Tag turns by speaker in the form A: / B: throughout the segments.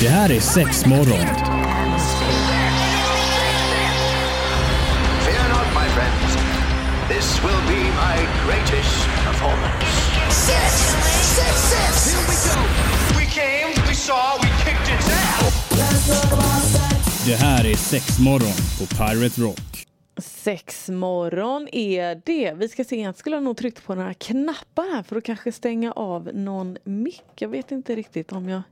A: Det här är sex morgon.
B: Fear not, my friends. This will be my greatest performance.
C: Six, six, six. Here we go.
B: We came, we saw, we kicked its ass.
A: Det här är sex morgon på Pirate Rock.
D: Sex morgon är det. Vi ska se, jag skulle ha nog tryckt på några knappar här för att kanske stänga av någon mick. Jag vet inte riktigt om jag...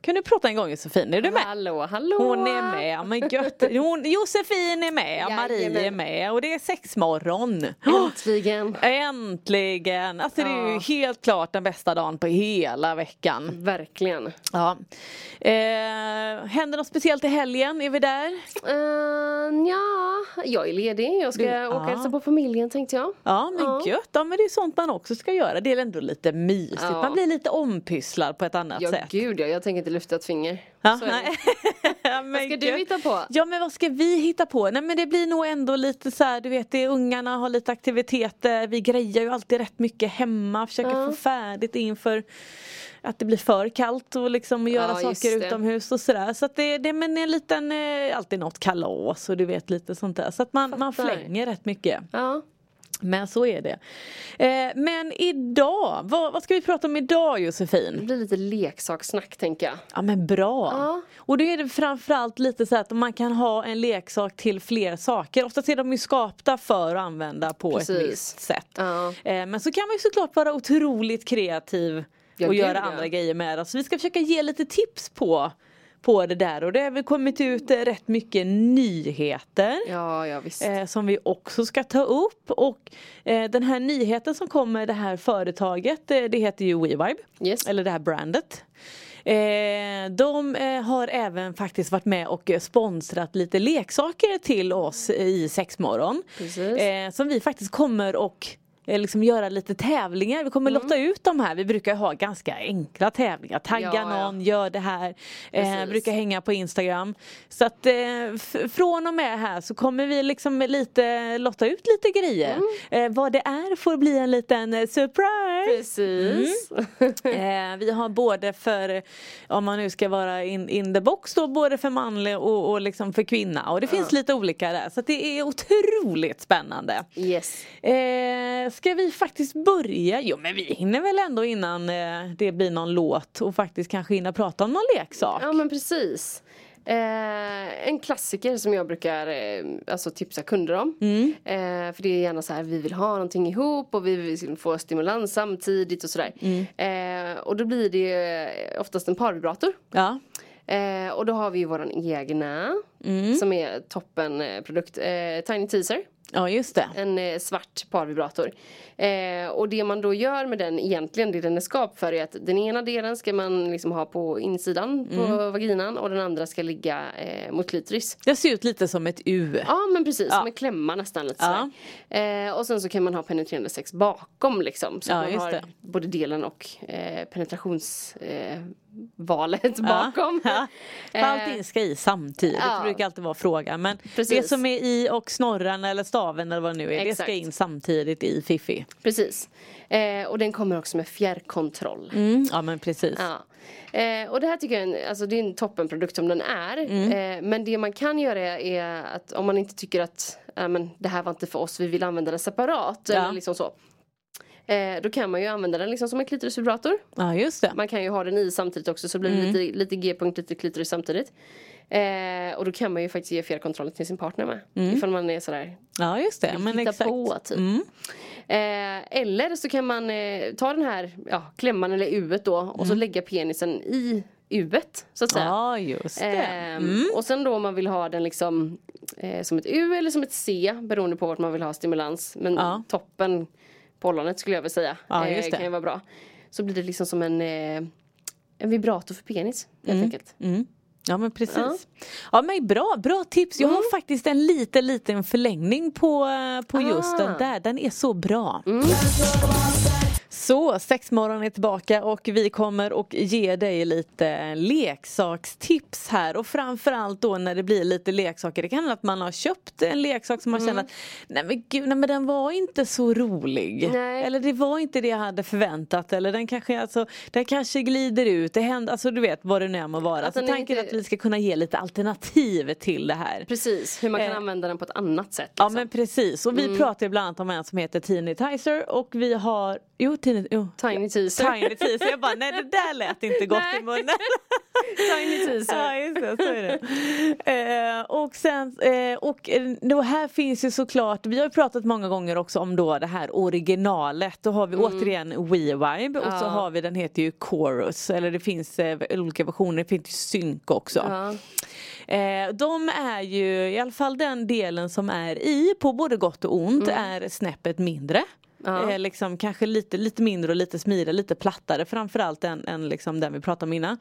D: Kan du prata en gång Josefin? Är du med?
E: Hallå, hallå!
D: Hon är med, men gött. Hon, Josefin är med, Marie är
E: Jajamän.
D: med och det är sexmorgon.
E: Äntligen!
D: Äntligen! Alltså det är ju
E: Ja. Mm.
D: helt klart den bästa dagen på hela veckan.
E: Verkligen.
D: Ja. Eh, händer något speciellt i helgen? Är vi där?
E: Uh, ja, jag är ledig. Jag ska
D: Du-
E: åka och
D: ja.
E: hälsa på familjen tänkte jag.
D: Ja men
E: Ja.
D: gött, ja, men det är sånt man också ska göra. Det är ändå lite mysigt.
E: Ja.
D: Man blir lite ompysslad på ett annat
E: Ja,
D: sätt.
E: gud ja. Jag tänker inte lyfta ett finger.
D: Ja,
E: Så är det.
D: nej. men
E: Vad ska du
D: gött.
E: hitta på?
D: Ja men vad ska vi hitta på? Nej men det blir nog ändå lite så här, du vet det är ungarna har lite aktiviteter. Vi grejar ju alltid rätt mycket hemma. Försöker
E: Ja.
D: få färdigt inför att det blir för kallt och liksom göra
E: Ja, just
D: saker
E: det.
D: utomhus och sådär. Så att det, det men en liten, eh, alltid något kalas och du vet lite sånt där. Så att man, man
E: Fattar.
D: flänger rätt mycket.
E: Ja.
D: Men så är det. Eh, men idag, vad, vad ska vi prata om idag
E: Det
D: Josefin?
E: blir lite leksakssnack tänker jag.
D: Ja men bra.
E: Ja.
D: Och då är det framförallt lite så här att man kan ha en leksak till fler saker. Oftast är de ju skapta för att använda på ett
E: Precis.
D: visst sätt.
E: Ja.
D: Eh, men så kan man ju såklart vara otroligt kreativ
E: Ja,
D: och
E: gud,
D: göra
E: ja.
D: andra grejer med det. Så vi ska försöka ge lite tips på på det där och det har även kommit ut eh, rätt mycket nyheter.
E: Ja, ja visst.
D: Eh, som vi också ska ta upp och eh, den här nyheten som kom med det här företaget eh, det heter ju WeVibe
E: Yes.
D: eller det här brandet. Eh, de eh, har även faktiskt varit med och eh, sponsrat lite leksaker till oss i Sexmorgon.
E: Precis.
D: Eh, som vi faktiskt kommer och eh, liksom göra lite tävlingar. Vi
E: Mm.
D: kommer lotta ut de här. Vi brukar ha ganska enkla tävlingar. Tagga
E: Ja, ja.
D: någon, gör det här. Eh,
E: Precis.
D: brukar hänga på Instagram. Så att eh, f- från och med här så kommer vi liksom lite lotta ut lite grejer.
E: Mm.
D: Eh, vad det är får bli en liten eh, surprise.
E: Precis. Mm.
D: Eh, vi har både för, eh, om man nu ska vara in, in the box då, både för manlig och, och liksom för kvinna. Och det finns lite olika där. Så att det är otroligt spännande.
E: yes.
D: Eh, ska vi faktiskt börja? Jo men vi hinner väl ändå innan eh, det blir någon låt och faktiskt kanske hinna prata om någon leksak.
E: Ja men precis. Eh, en klassiker som jag brukar eh, alltså tipsa kunder om. Eh, för det är gärna så här, vi vill ha någonting ihop och vi vill liksom få stimulans samtidigt och sådär. Eh, och då blir det eh, oftast en parvibrator.
D: Ja.
E: Eh, och då har vi ju våran egna som är toppen eh, produkt. Eh, Tiny Teaser.
D: ja just det.
E: En eh, svart parvibrator. Eh, och det man då gör med den egentligen, det den är skap för är att den ena delen ska man liksom ha på insidan
D: Mm.
E: på vaginan och den andra ska ligga eh, mot klitoris.
D: Det ser ut lite som ett U.
E: Ja men precis,
D: Ja.
E: som en klämma nästan lite
D: Ja.
E: sådär. eh, Och sen så kan man ha penetrerande sex bakom liksom. Så
D: Ja,
E: man
D: just
E: har
D: det.
E: både delen och eh, penetrationsvalet eh, valet bakom.
D: Ja. För
E: Eh,
D: Allting ska i samtidigt,
E: ja.
D: det brukar alltid vara frågan. Men
E: Precis.
D: det som är i och snorran eller staven eller vad det nu är, det ska
E: Exakt.
D: in samtidigt i Fifi.
E: Precis. Eh, och den kommer också med fjärrkontroll.
D: Mm, ja men precis.
E: Ja. Eh, och det här tycker jag är en, alltså det är en toppenprodukt som den är.
D: Mm.
E: Eh, men det man kan göra är, är att om man inte tycker att "Ja, men det här var inte för oss, vi vill använda det separat.
D: Ja.
E: Eller liksom så. Eh, då kan man ju använda den liksom som en klitorisvibrator.
D: Ja Mm. just det.
E: Man kan ju ha den i samtidigt också så blir det lite, lite g-punkt, lite klitoris samtidigt. Eh, och då kan man ju faktiskt ge fjärrkontrollen till sin partner med.
D: Mm.
E: Ifall man är sådär
D: Ja just det. Men
E: hitta
D: exakt. Mm.
E: på typ. Eh, eller så kan man eh, ta den här ja, klämman eller uet då och
D: Mm.
E: så lägga penisen i uet så att säga.
D: Ja just det. Mm.
E: Ehm, Och sen då om man vill ha den liksom eh, som ett U eller som ett C beroende på vart man vill ha stimulans. Men
D: Ja.
E: toppen på ollonet skulle jag vilja säga Eh,
D: Ja, just det.
E: kan ju vara bra. Så blir det liksom som en, eh, en vibrator för penis helt
D: Mm.
E: enkelt.
D: Ja men precis. Ja. men bra, bra tips. Jag har faktiskt en liten liten förlängning på, eh, på just
E: Ah.
D: den där. Den är så bra. Så sexmorgon är tillbaka och vi kommer att ge dig lite leksakstips här och framförallt då när det blir lite leksaker. Det kan hända att man har köpt en leksak som man känner att nej men gud, nej men den var inte så rolig.
E: Nej.
D: Eller det var inte det jag hade förväntat eller den kanske, alltså, den kanske glider ut. Det händer, alltså du vet vad det nu är må vara.
E: Att
D: Alltså,
E: den är
D: tanken är
E: lite-
D: att vi ska kunna ge lite alternativ till det här.
E: Precis, hur man kan
D: Eh.
E: använda den på ett annat sätt.
D: Ja
E: Liksom.
D: men precis och vi
E: Mm.
D: pratar ju bland annat om en som heter Teeny Tizer och vi har, jo Teeny, jo.
E: Tiny teaser.
D: Tiny Tizer, jag bara nej det där lät inte gott i
E: Nej.
D: munnen.
E: Tiny
D: ja
E: teaser.
D: just det, så är det. Eh, och sen, eh, och eh, då här finns ju såklart, vi har ju pratat många gånger också om då det här originalet. Då har vi återigen WeVibe och så
E: Mm. Ja.
D: har vi den heter ju Chorus eller det finns eh, olika versioner, det finns ju Sync också.
E: Ja.
D: Eh, de är ju, i alla fall den delen som är i, på både gott och ont, är snäppet mindre.
E: Mm. Ja.
D: Eh, liksom, kanske lite, lite mindre och lite smidigare, lite plattare framförallt än, än liksom den vi pratade om innan.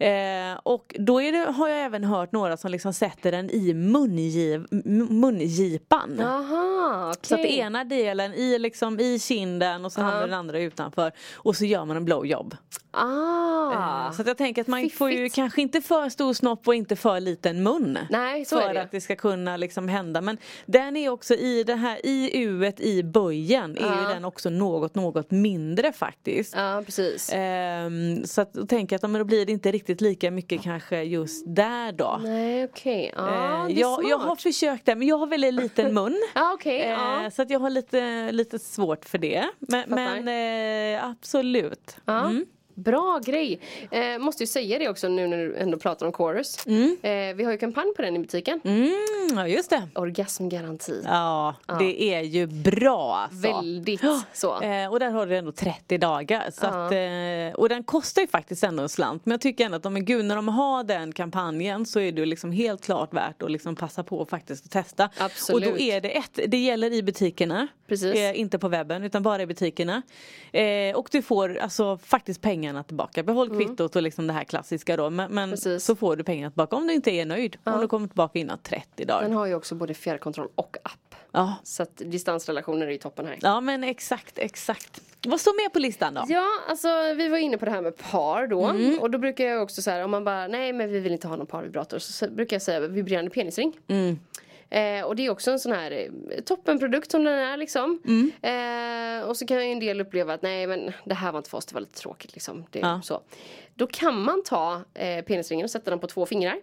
D: Eh, och då är det, har jag även hört några som liksom sätter den i mungiv, m- mungipan.
E: Jaha, okej.
D: Så att ena delen i, liksom, i kinden och så hamnar den andra utanför och så gör man en blowjob.
E: Ah.
D: Eh, Så att jag tänker att man får ju
E: Fiffigt.
D: kanske inte för stor snopp och inte för liten mun.
E: Nej, så
D: för
E: är det.
D: att det ska kunna liksom hända. Men den är också i det här i uet i böjen är ju
E: Ja.
D: den också något något mindre faktiskt.
E: Ja, precis.
D: Ehm, så att då tänker jag att ja, men då blir det inte riktigt lika mycket kanske just där då.
E: Nej, okej. Ja,
D: Eh,
E: det är
D: jag, jag har
E: smart.
D: försökt det men jag har väldigt liten mun.
E: Ja, okej.
D: Eh,
E: ja.
D: Så att jag har lite, lite svårt för det. Men,
E: Fattar.
D: men eh, absolut. Mm.
E: Ja. Bra grej! Eh, måste ju säga det också nu när du ändå pratar om Chorus. Eh, vi har ju kampanj på den i butiken.
D: Mm, ja just det.
E: Orgasmgaranti.
D: Ja, det är ju bra alltså.
E: Väldigt så.
D: Eh, och där har du ändå 30 dagar. Så
E: Ja.
D: att, eh, och den kostar ju faktiskt ändå en slant. Men jag tycker ändå att om, gud, när de har den kampanjen så är det ju liksom helt klart värt att liksom passa på och faktiskt att testa.
E: Absolut.
D: Och då är det ett, det gäller i butikerna.
E: Precis.
D: Eh, inte på webben utan bara i butikerna. Eh, och du får alltså faktiskt pengarna tillbaka. Behåll kvittot och liksom det här klassiska då. Men, men
E: Mm. Precis.
D: så får du pengarna tillbaka om du inte är nöjd. Om du kommer tillbaka innan 30 dagar.
E: Den har ju också både fjärrkontroll och app.
D: Ja,
E: Så att distansrelationer är ju toppen här.
D: Ja men exakt, exakt. Vad står med på listan då?
E: Ja, alltså vi var inne på det här med par då.
D: Mm.
E: Och då brukar jag också säga om man bara, nej men vi vill inte ha någon parvibrator. Så så brukar jag säga vibrerande penisring.
D: Mm,
E: Eh, och det är också en sån här eh, toppenprodukt som den är liksom.
D: Mm.
E: Eh, och så kan ju en del uppleva att nej men det här var inte för oss, det var lite tråkigt liksom. Det,
D: Ja.
E: så. Då kan man ta eh, penisringen och sätta den på två fingrar.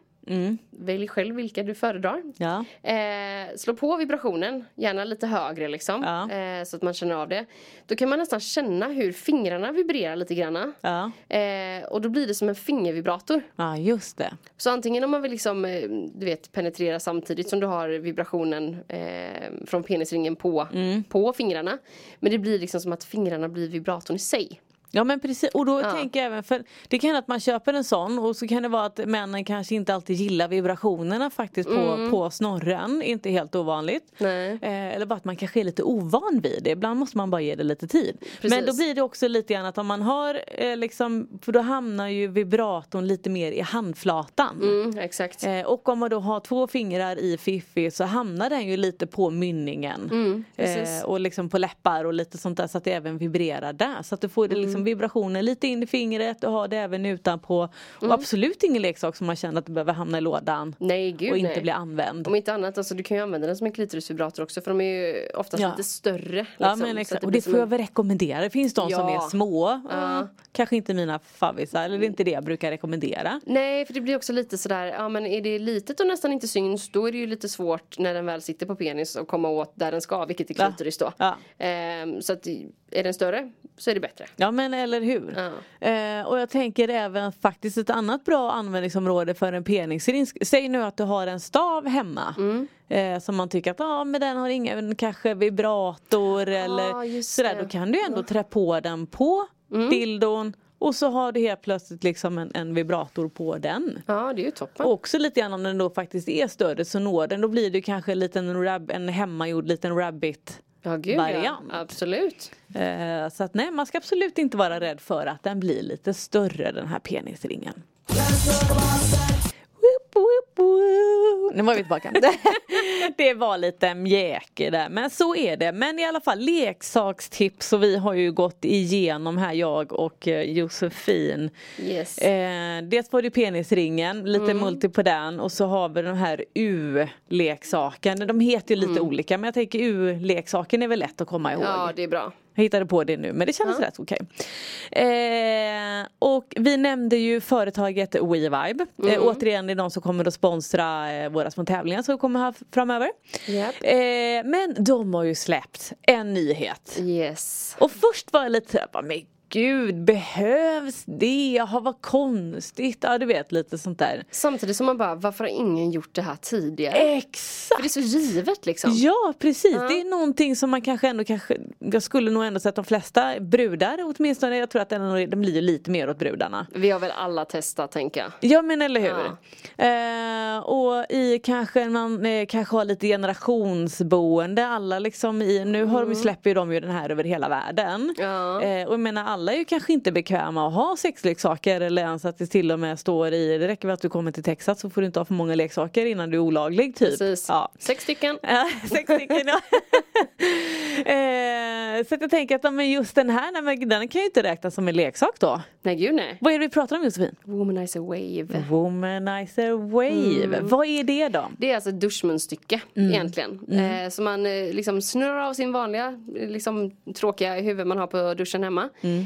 E: Välj själv vilka du föredrar.
D: mm, Ja.
E: Eh, slå på vibrationen, gärna lite högre liksom.
D: Ja.
E: Eh, så att man känner av det. Då kan man nästan känna hur fingrarna vibrerar lite grann.
D: Ja,
E: Eh, och då blir det som en fingervibrator.
D: ja just det.
E: Så antingen om man vill liksom, eh, du vet, penetrera samtidigt som du har vibrationen eh, från penisringen på,
D: Mm.
E: på fingrarna. Men det blir liksom som att fingrarna blir vibratorn i sig.
D: Ja men precis och då
E: Ja.
D: tänker jag även för det kan hända att man köper en sån och så kan det vara att männen kanske inte alltid gillar vibrationerna faktiskt på, på snorren, inte helt ovanligt.
E: Mm. Nej.
D: Eh, eller bara att man kanske är lite ovan vid det, ibland måste man bara ge det lite tid. Men då
E: Precis.
D: blir det också lite grann att om man har eh, liksom, för då hamnar ju vibratorn lite mer i handflatan.
E: Mm, exakt.
D: Eh, och om man då har två fingrar i fiffi så hamnar den ju lite på mynningen.
E: Mm, precis.
D: och liksom på läppar och lite sånt där så att det även vibrerar där. Så att du får det
E: Mm.
D: liksom vibrationer lite in i fingret och har det även utanpå. Och absolut ingen leksak som man känner att du behöver hamna i lådan.
E: Mm. Nej, gud
D: och inte
E: nej.
D: bli använd.
E: Om inte annat, alltså, du kan ju använda den som en klitorisvibrator också för de är ju oftast
D: Ja.
E: lite större. Liksom.
D: Ja, men
E: Så
D: exakt.
E: att
D: och
E: blir
D: det
E: som
D: får jag
E: en-
D: väl rekommendera. Det finns de som
E: Ja.
D: är små. Mm.
E: Ja.
D: Kanske inte mina favvisar eller det är inte det jag brukar rekommendera.
E: Nej, för det blir också lite sådär, ja men är det litet och nästan inte syns då är det ju lite svårt när den väl sitter på penis att komma åt där den ska, vilket är
D: Ja.
E: klitoris då.
D: Ja.
E: Ehm, så att är den större så är det bättre.
D: Ja men eller hur.
E: Ja.
D: Eh, och jag tänker även faktiskt ett annat bra användningsområde för en penisring. Säg nu att du har en stav hemma.
E: Mm.
D: Eh, som man tycker att ah, men den har ingen kanske vibrator eller
E: just
D: sådär.
E: det. Mm.
D: Då kan du ändå trä på den på dildon. Och så har du helt plötsligt liksom en, en vibrator på den.
E: Ja, det är ju toppen.
D: Och också lite grann om den då faktiskt är större så når den. Då blir det ju kanske en liten rab- en hemmagjord liten rabbit.
E: ja, gud ja.
D: variant.
E: Absolut.
D: Eh, så att nej man ska absolut inte vara rädd för att den blir lite större den här penisringen. Whoop, whoop, whoop. nu var vi tillbaka. det var lite mjäk i det. Men så är det. Men i alla fall leksakstips och vi har ju gått igenom här jag och eh, Josefin.
E: Yes.
D: Eh, dels var det penisringen, lite multi på den och så har vi den här U-leksaken. De heter ju lite olika men jag tänker U-leksaken är väl lätt att komma ihåg.
E: Ja, det är bra.
D: Jag hittade på det nu men det kändes rätt okej. Eh, och vi nämnde ju företaget WeVibe. Eh, återigen det är de som kommer att sponsra eh, våra små tävlingar som vi kommer ha f- framöver.
E: Japp.
D: Eh, men de har ju släppt en nyhet.
E: Yes.
D: Och först var jag lite såhär, bara, men gud behövs det? Jaha vad konstigt. Ja du vet lite sånt där.
E: Samtidigt som man bara, varför har ingen gjort det här tidigare?
D: Exakt!
E: För det är så givet liksom.
D: Eh, Ja precis, det är någonting som man kanske ändå kanske Jag skulle nog ändå säga att de flesta brudar åtminstone Jag tror att ändå, de blir ju lite mer åt brudarna
E: Vi har väl alla testat tänker jag.
D: Ja men eller hur eh, Och i kanske man eh, kanske har lite generationsboende Alla liksom i Nu har de, ju- släpper ju de ju den här över hela världen
E: Mm. Ja.
D: eh, Och jag menar alla är ju kanske inte bekväma att ha sexleksaker Eller ens att det till och med står i Det räcker väl att du kommer till Texas så får du inte ha för många leksaker innan du är olaglig typ
E: Precis.
D: Ja. Eh.
E: Sex stycken.
D: Ja, sex stycken ja. eh, så att jag tänker att ja, men just den här, nej, men den kan ju inte räknas som en leksak då.
E: Nej gud nej.
D: Vad är det vi pratar om Josefin?
E: Womanizer
D: Mm.
E: wave.
D: Womanizer wave.
E: Mm.
D: Vad är det då?
E: Det är alltså ett duschmunstycke
D: Mm.
E: egentligen. Eh, som man eh, liksom snurrar av sin vanliga eh, liksom, tråkiga huvud man har på duschen hemma.
D: Mm.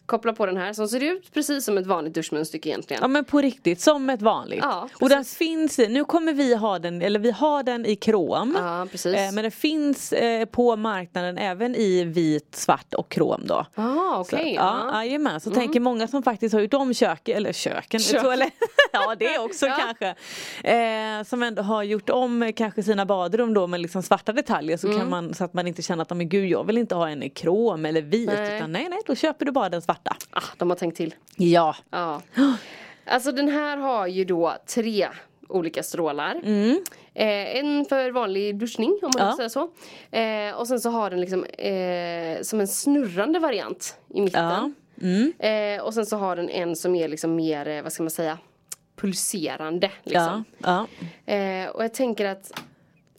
E: Kopplar på den här som ser ut precis som ett vanligt duschmunstycke egentligen.
D: Ja men på riktigt, som ett vanligt.
E: Ja,
D: och den finns i, nu kommer vi ha den, eller vi har den i krom.
E: Ja, precis.
D: Eh, men den finns eh, på marknaden även i vit, svart och krom då.
E: Ah, okej.
D: Så,
E: ja. Mm.
D: ja, jajamän. Så tänker många som faktiskt har gjort om köken, eller köken,
E: Kök.
D: toalett, ja det också
E: Ja.
D: kanske. Eh, som ändå har gjort om eh, kanske sina badrum då med liksom svarta detaljer så,
E: Mm.
D: kan man, så att man inte känner att men gud jag vill inte ha en i krom eller vit.
E: Nej.
D: Utan nej nej då köper du bara den svarta.
E: Ah, de har tänkt till.
D: Ja.
E: Ja. Alltså den här har ju då tre olika strålar. Eh, en för vanlig duschning om man
D: Mm. Ja.
E: ja. säger så. Eh, och sen så har den liksom eh, som en snurrande variant i mitten.
D: Mm.
E: Eh, och sen så har den en som är liksom mer, eh, vad ska man säga, pulserande.
D: Ja,
E: Liksom.
D: ja.
E: Eh, och jag tänker att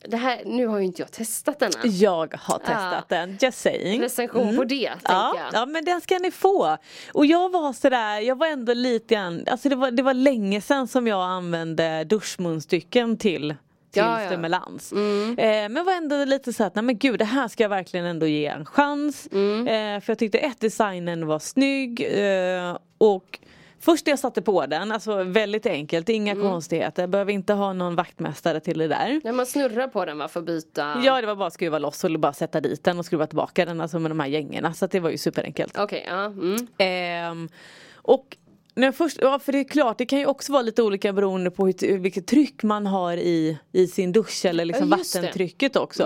E: det här, nu har ju inte jag testat denna.
D: Jag har testat den, just saying. Mm.
E: Recension på det, tänker
D: Ja,
E: jag.
D: ja men den ska ni få. Och jag var sådär, jag var ändå lite grann, alltså det var, det var länge sedan som jag använde duschmunstycken till till
E: Ja, ja.
D: stimulans.
E: Mm.
D: Eh, men var ändå lite så att, nej men gud det här ska jag verkligen ändå ge en chans.
E: Mm.
D: Eh, för jag tyckte ett designen var snygg eh, och Först när jag satte på den, alltså väldigt enkelt, inga
E: Mm.
D: konstigheter, behöver inte ha någon vaktmästare till det där.
E: När man snurrar på den va, för att byta.
D: Ja det var bara att skruva loss och bara sätta dit den och skruva tillbaka den alltså med de här gängorna så att det var ju superenkelt.
E: Okej, ja. Mm.
D: Ehm, och när jag först, ja, för det är klart, det kan ju också vara lite olika beroende på hur, vilket tryck man har i, i sin dusch eller liksom
E: Ja, just det. Mm.
D: vattentrycket också.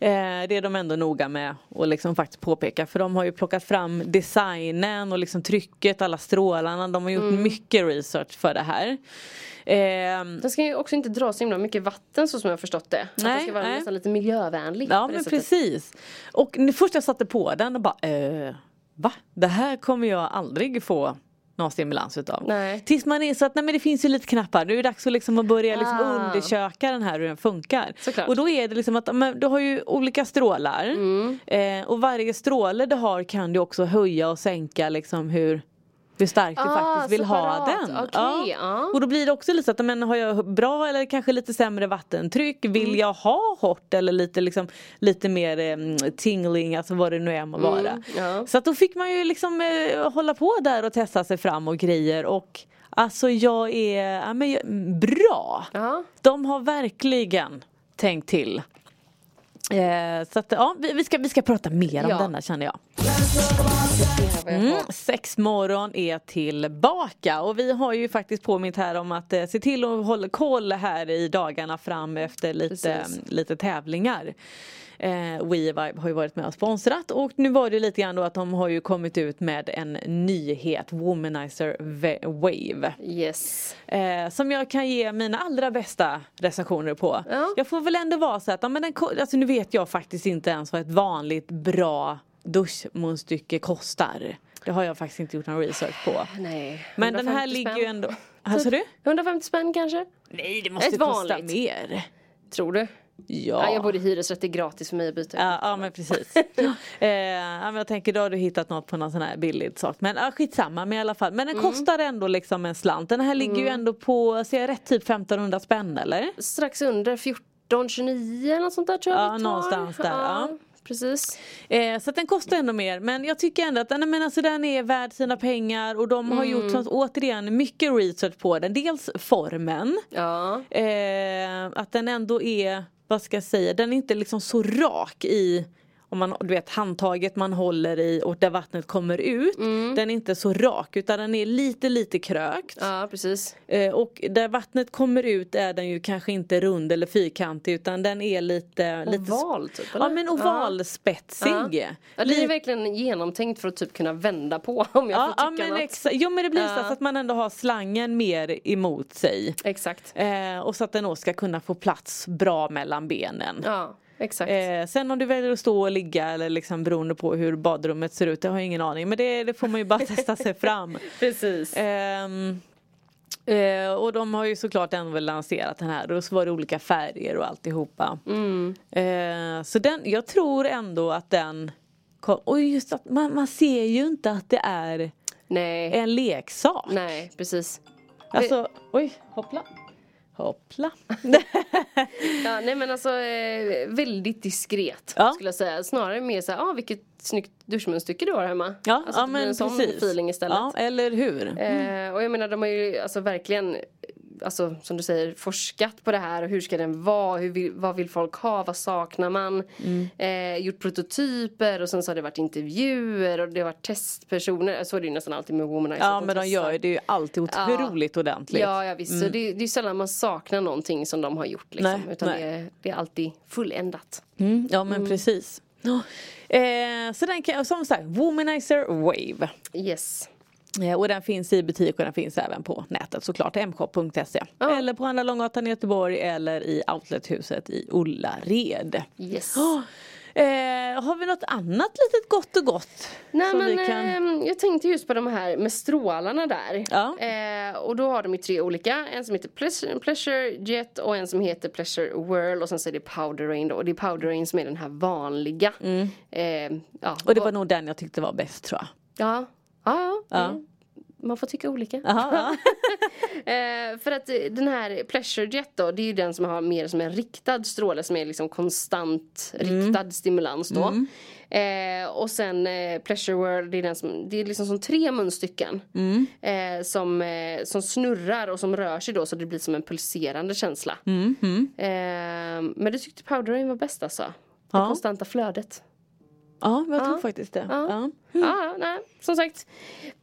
D: Eh, det är de ändå noga med att liksom faktiskt påpeka för de har ju plockat fram designen och liksom trycket, alla strålarna. De har gjort
E: Mm.
D: mycket research för det här. Ehm,
E: Den ska ju också inte dra så himla mycket vatten så som jag har förstått det. Nej, den
D: Nej,
E: ska vara
D: nej.
E: nästan lite miljövänlig.
D: Ja
E: på det
D: men
E: sättet.
D: precis. Och n- först jag satte på den och bara eh, va? Det här kommer jag aldrig få någon stimulans utav.
E: Nej.
D: Tills man insåg att nej, men det finns ju lite knappar. Nu är det dags att, liksom, att börja liksom,
E: Ah.
D: undersöka den här hur den funkar.
E: Såklart.
D: Och då är det liksom att men, du har ju olika strålar.
E: Mm.
D: Eh, och varje stråle du har kan du också höja och sänka liksom hur hur starkt du
E: Ah,
D: faktiskt vill ha
E: separat.
D: den.
E: Okej, ja.
D: Och då blir det också lite så att men har jag bra eller kanske lite sämre vattentryck? Vill
E: Mm.
D: jag ha hårt eller lite, liksom, lite mer eh, tingling, alltså vad det nu är må vara.
E: Mm, ja.
D: Så att då fick man ju liksom eh, hålla på där och testa sig fram och grejer och alltså jag är, ja, men jag, mm, bra!
E: Ja.
D: De har verkligen tänkt till. Eh, så att ja, vi, vi, ska, vi ska prata mer om
E: Ja.
D: denna känner jag.
E: Det här var jag på.
D: Mm, sexmorgon är tillbaka och vi har ju faktiskt påmint här om att eh, se till att hålla koll här i dagarna fram efter lite,
E: Precis.
D: lite tävlingar. Eh, WeVibe har ju varit med och sponsrat och nu var det lite grann då att de har ju kommit ut med en nyhet, Womanizer Ve- Wave.
E: Yes.
D: Eh, som jag kan ge mina allra bästa recensioner på.
E: Ja.
D: Jag får väl ändå vara så att, ja, men den, ko- alltså, nu vet jag faktiskt inte ens vad ett vanligt bra duschmunstycke kostar. Det har jag faktiskt inte gjort någon research på.
E: Nej.
D: Men den här
E: 150
D: ligger ju
E: spänn.
D: ändå... Alltså du?
E: Typ 150 spänn kanske?
D: Nej det måste
E: Ett
D: kosta
E: vanligt.
D: mer.
E: Tror du? Ja. jag
D: Ja.
E: borde i hyresrätt, det är gratis för mig att byta.
D: Ja, ja men precis. eh, ja, men jag tänker då har du hittat något på någon sån här billig sak. Men ja, skitsamma men i alla fall. Men den kostar ändå liksom en slant. Den här ligger ju ändå på, ser jag rätt, typ 1500 spänn eller?
E: Strax under 14, 29 eller något sånt där tror jag
D: Ja,
E: vi tar.
D: någonstans där, ja.
E: Precis.
D: Eh, så att den kostar ändå mer. Men jag tycker ändå att nej, men alltså, den är värd sina pengar och de har
E: Mm.
D: gjort sånt, återigen mycket research på den. Dels formen.
E: Ja.
D: Eh, att den ändå är, vad ska jag säga, den är inte liksom så rak i om man, du vet handtaget man håller i och där vattnet kommer ut. Den är inte så rak utan den är lite lite krökt.
E: Mm. ja, precis.
D: Eh, och där vattnet kommer ut är den ju kanske inte rund eller fyrkantig utan den är lite lite
E: Oval typ eller?
D: Ja men ovalspetsig.
E: Ja. Ja, det är ju
D: Lite-
E: verkligen genomtänkt för att typ kunna vända på om jag
D: Ja,
E: får
D: ja
E: tycka
D: men
E: något.
D: exa- jo men det blir så
E: Ja.
D: så att man ändå har slangen mer emot sig.
E: Exakt.
D: Eh, och så att den då ska kunna få plats bra mellan benen.
E: Ja, exakt.
D: Eh, sen om du väljer att stå och ligga eller liksom beroende på hur badrummet ser ut, det har jag ingen aning. Men det, det får man ju bara testa sig fram.
E: Precis.
D: Ehm, eh, och de har ju såklart ändå lanserat den här och så var det olika färger och alltihopa.
E: Mm.
D: Eh, så den, jag tror ändå att den kom, och just att man, man ser ju inte att det är
E: Nej.
D: en leksak.
E: Nej, precis.
D: Alltså, oj, hoppla. Hoppla.
E: Ja, nej men alltså eh, väldigt diskret
D: Ja.
E: skulle jag säga. Snarare mer såhär, ah, vilket snyggt duschmunstycke du har hemma.
D: Ja,
E: alltså,
D: ja
E: det blir
D: men
E: en sån
D: precis.
E: feeling istället.
D: Ja, eller hur.
E: Eh, och jag menar de har ju alltså verkligen eh, Alltså som du säger forskat på det här och hur ska den vara, hur vill, vad vill folk ha, vad saknar man?
D: Mm.
E: Eh, gjort prototyper och sen så har det varit intervjuer och det har varit testpersoner. Så är det ju nästan alltid med Womanizer.
D: Ja
E: att
D: men de
E: testar.
D: gör ju det är ju alltid
E: Ja.
D: otroligt ordentligt. Mm.
E: Ja, ja visst. Så det, det är sällan man saknar någonting som de har gjort. Liksom,
D: Nej,
E: utan
D: nej.
E: Det, är, det är alltid fulländat.
D: Mm, ja men precis. Ja. Eh, så den kan, som sagt, Womanizer Wave.
E: Yes.
D: Eh, och den finns i butik och den finns även på nätet såklart, mshop.se.
E: Ja.
D: Eller på Handla Långgatan i Göteborg eller i Outlethuset i Ullared.
E: Yes.
D: Ja. Eh, har vi något annat litet gott och gott?
E: Nej
D: som
E: men
D: vi kan...
E: ehm, jag tänkte just på de här med strålarna där.
D: Ja.
E: Eh, och då har de ju tre olika. En som heter Pleasure, pleasure Jet och en som heter Pleasure Whirl och sen så är det Powder Rain då. Och det är Powder Rain som är den här vanliga. Eh, ja.
D: Mm. och det var nog den jag tyckte var bäst tror jag.
E: Ja. Ja, ja. det- Man får tycka olika.
D: Jaha,
E: Eh, för att eh, den här Pleasure Jet då, det är ju den som har mer som en riktad stråle som är liksom konstant
D: Mm.
E: riktad stimulans då. Eh, och sen eh, Pleasure World, det är, den som, det är liksom som tre munstycken.
D: Mm,
E: Eh, som, eh, som snurrar och som rör sig då så det blir som en pulserande känsla.
D: mm,
E: Eh, men du tyckte Powder Rain var bäst alltså? Det
D: Ja.
E: konstanta flödet.
D: ja men jag tror faktiskt det.
E: Ja.
D: Ja.
E: Ja, nej, som sagt.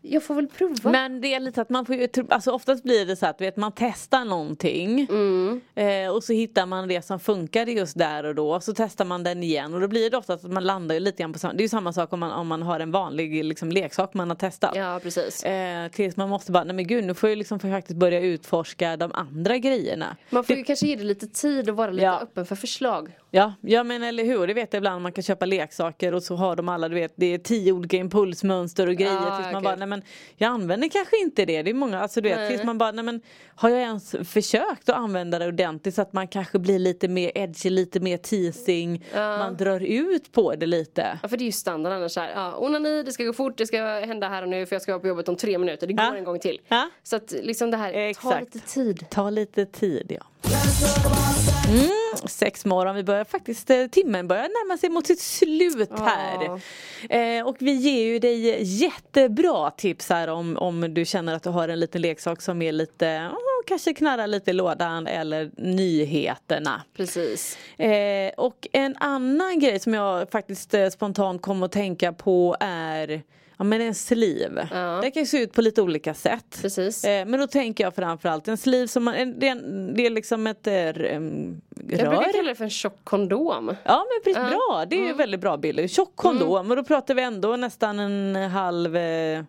E: Jag får väl prova.
D: Mm. Men det är lite att man får ju, tro- alltså oftast blir det så att du vet, man testar någonting
E: Mm.
D: eh, och så hittar man det som funkade just där och då så testar man den igen och då blir det ofta att man landar ju lite grann på samma, det är ju samma sak om man, om man har en vanlig liksom, leksak man har testat.
E: Ja, precis.
D: Eh, tills man måste bara, nej men gud nu får jag liksom faktiskt börja utforska de andra grejerna.
E: Man får ju kanske ge det lite tid och vara lite
D: Ja.
E: öppen för förslag.
D: Ja, ja men eller hur, det vet jag ibland man kan köpa leksaker och så har de alla, du vet det är tio olika impulsmönster och grejer
E: Ja,
D: tills man
E: okej.
D: bara, nej men jag använder kanske inte det, det är många, alltså du vet
E: Nej.
D: tills man bara, nej men har jag ens försökt att använda det ordentligt så att man kanske blir lite mer edgy, lite mer teasing, man drar ut på det lite.
E: Ja för det är ju standard annars här. Ja, onani, det ska gå fort, det ska hända här och nu för jag ska vara på jobbet om tre minuter. Det går
D: Ja.
E: en gång till.
D: Ja.
E: Så att liksom det här, ta
D: Exakt.
E: lite tid.
D: Ta lite tid ja. Mm, sex morgon, vi börjar faktiskt, eh, timmen börjar närma sig mot sitt slut här. Eh, och vi ger ju dig jättebra tips här om, om du känner att du har en liten leksak som är lite, oh, kanske knarrar lite i lådan eller nyheterna.
E: Precis.
D: Eh, och en annan grej som jag faktiskt eh, spontant kom att tänka på är Ja men en sliv.
E: Ja.
D: Det kan ju se ut på lite olika sätt.
E: Precis.
D: Eh, men då tänker jag framförallt en sliv som man, en, det, är en, det är liksom ett eh, r- em,
E: Jag brukar
D: rör.
E: kalla det för en tjock kondom.
D: Ja men precis, bra det är ju
E: Mm.
D: väldigt bra bilder. Tjock kondom och då pratar vi ändå nästan en halv eh,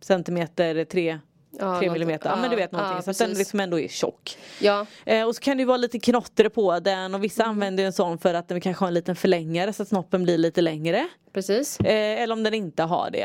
D: centimeter, tre
E: Ja,
D: tre
E: något-
D: millimeter. Ja,
E: ja,
D: men du vet någonting.
E: ja,
D: så att den
E: precis.
D: liksom ändå är tjock.
E: Ja.
D: Eh, och så kan det ju vara lite knottre på den och
E: Mm.
D: vissa använder ju en sån för att den kanske har en liten förlängare så att snoppen blir lite längre.
E: Precis.
D: Eh, eller om den inte har det.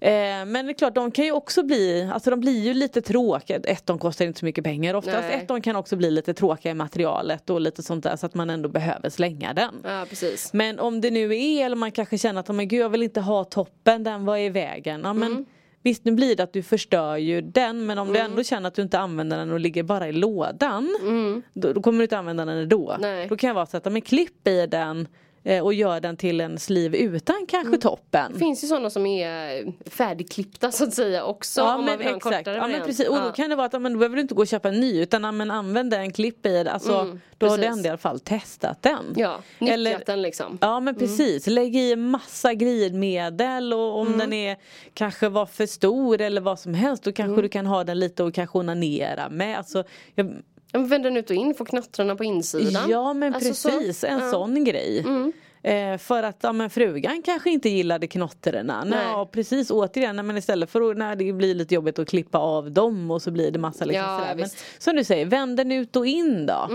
D: Eh, men det är klart, de kan ju också bli, alltså de blir ju lite tråkiga. Etton kostar inte så mycket pengar oftast.
E: Nej.
D: Etton kan också bli lite tråkiga i materialet och lite sånt där så att man ändå behöver slänga den.
E: Ja, precis.
D: Men om det nu är, eller man kanske känner att oh, men gud, jag vill inte ha toppen, den var i vägen. Ja, men,
E: Mm.
D: Visst nu blir det att du förstör ju den men om du ändå känner att du inte använder den och ligger bara i lådan då, då kommer du inte använda den ändå.
E: Mm. Nej.
D: Då kan jag vara så att men klipp i den eh, och gör den till en sleeve utan kanske toppen.
E: Det Mm. finns ju sådana som är eh, färdigklippta så att säga också.
D: Ja
E: om man
D: men
E: vill ha en
D: exakt,
E: kortare
D: ja, men
E: variant.
D: precis. och då
E: Ja.
D: kan det vara att ja, men då behöver du inte gå och köpa en ny utan ja, men använd den, klipp i den. Alltså, då har du
E: Mm, precis.
D: ändå i alla fall testat den.
E: Ja, nyttjat
D: Eller-
E: den liksom.
D: Ja men precis, lägg i massa glidmedel och om den är kanske var för stor eller vad som helst då kanske du kan ha den lite och kanske onanera med. Alltså, jag,
E: Ja, men Vänd den ut och in, få knottrarna på insidan.
D: ja men
E: Alltså, så-
D: precis, en
E: ja. Mm.
D: sån grej. Eh, för att ja, men frugan kanske inte gillade knottrarna.
E: Nej.
D: Ja precis återigen, nej, men istället för att när det blir lite jobbigt att klippa av dem och så blir det massa liksom
E: Ja,
D: sådär. Men,
E: visst. Mm.
D: som du säger, vänd den ut och in då.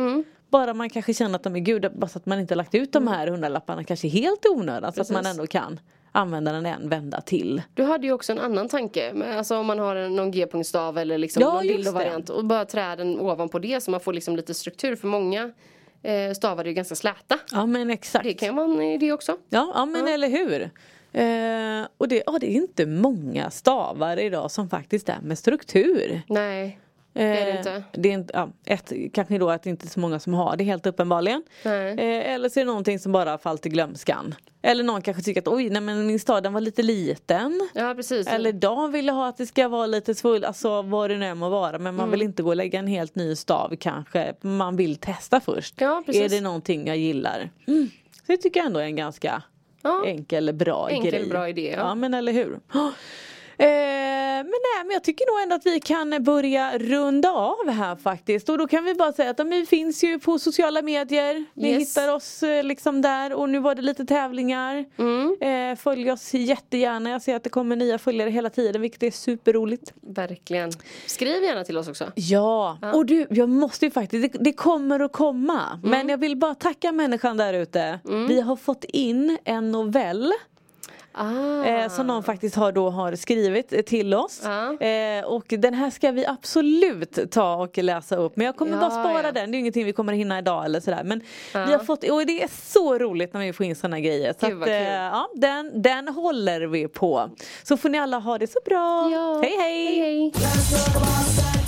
D: Bara man kanske känner att de är gud, bara så att man inte har lagt ut de här hundralapparna kanske helt i onödan. Så att man
E: Precis.
D: ändå kan använda den en vända till.
E: Du hade ju också en annan tanke, men alltså om man har en- någon g-punktstav eller liksom
D: Ja,
E: någon
D: just
E: dildo-variant och bara träden ovanpå det så man får liksom lite struktur för många eh, stavar är ju ganska släta.
D: Ja men exakt.
E: Det kan vara en idé också.
D: Ja, ja
E: Mm.
D: men eller hur. Eh, och det, ja, det är inte många stavar idag som faktiskt är med struktur.
E: Nej,
D: Det
E: är det inte.
D: Eh, Det är inte ja, ett, kanske då att det inte är så många som har det helt uppenbarligen.
E: Nej.
D: Eh, eller så är det någonting som bara fallit i glömskan. Eller någon kanske tycker att oj, nej men min stav den var lite liten.
E: ja precis.
D: Eller de ville ha att det ska vara lite svull, alltså vad det nu än må vara. Men
E: Mm.
D: man vill inte gå och lägga en helt ny stav kanske. Man vill testa först.
E: Ja, precis.
D: Är det någonting jag gillar? Mm. Så det tycker jag ändå är en ganska
E: Ja.
D: enkel bra
E: Enkel,
D: grej.
E: bra idé, ja.
D: ja men eller hur. Oh. Eh, men, nej, men jag tycker nog ändå att vi kan börja runda av här faktiskt. Och då kan vi bara säga att ja, men vi finns ju på sociala medier. Ni
E: Yes.
D: hittar oss eh, liksom där och nu var det lite tävlingar.
E: Mm.
D: Eh, följ oss jättegärna. Jag ser att det kommer nya följare hela tiden vilket är superroligt.
E: Verkligen. Skriv gärna till oss också.
D: Ja, och du, jag måste ju faktiskt, det, det kommer att komma.
E: Mm.
D: Men jag vill bara tacka människan där ute. Vi har fått in en novell.
E: Ah.
D: Eh, som någon faktiskt har, då, har skrivit eh, till oss.
E: Ja.
D: Eh, och den här ska vi absolut ta och läsa upp. Men jag kommer
E: Ja,
D: bara spara
E: ja.
D: den. Det är ju ingenting vi kommer hinna idag eller sådär. Men vi har fått, och det är så roligt när vi får in sådana grejer. Så eh,
E: Gud, vad kul.
D: ja, den, den håller vi på. Så får ni alla ha det så bra.
E: Ja.
D: hej.
E: hej.
C: Dance floor, come on, set,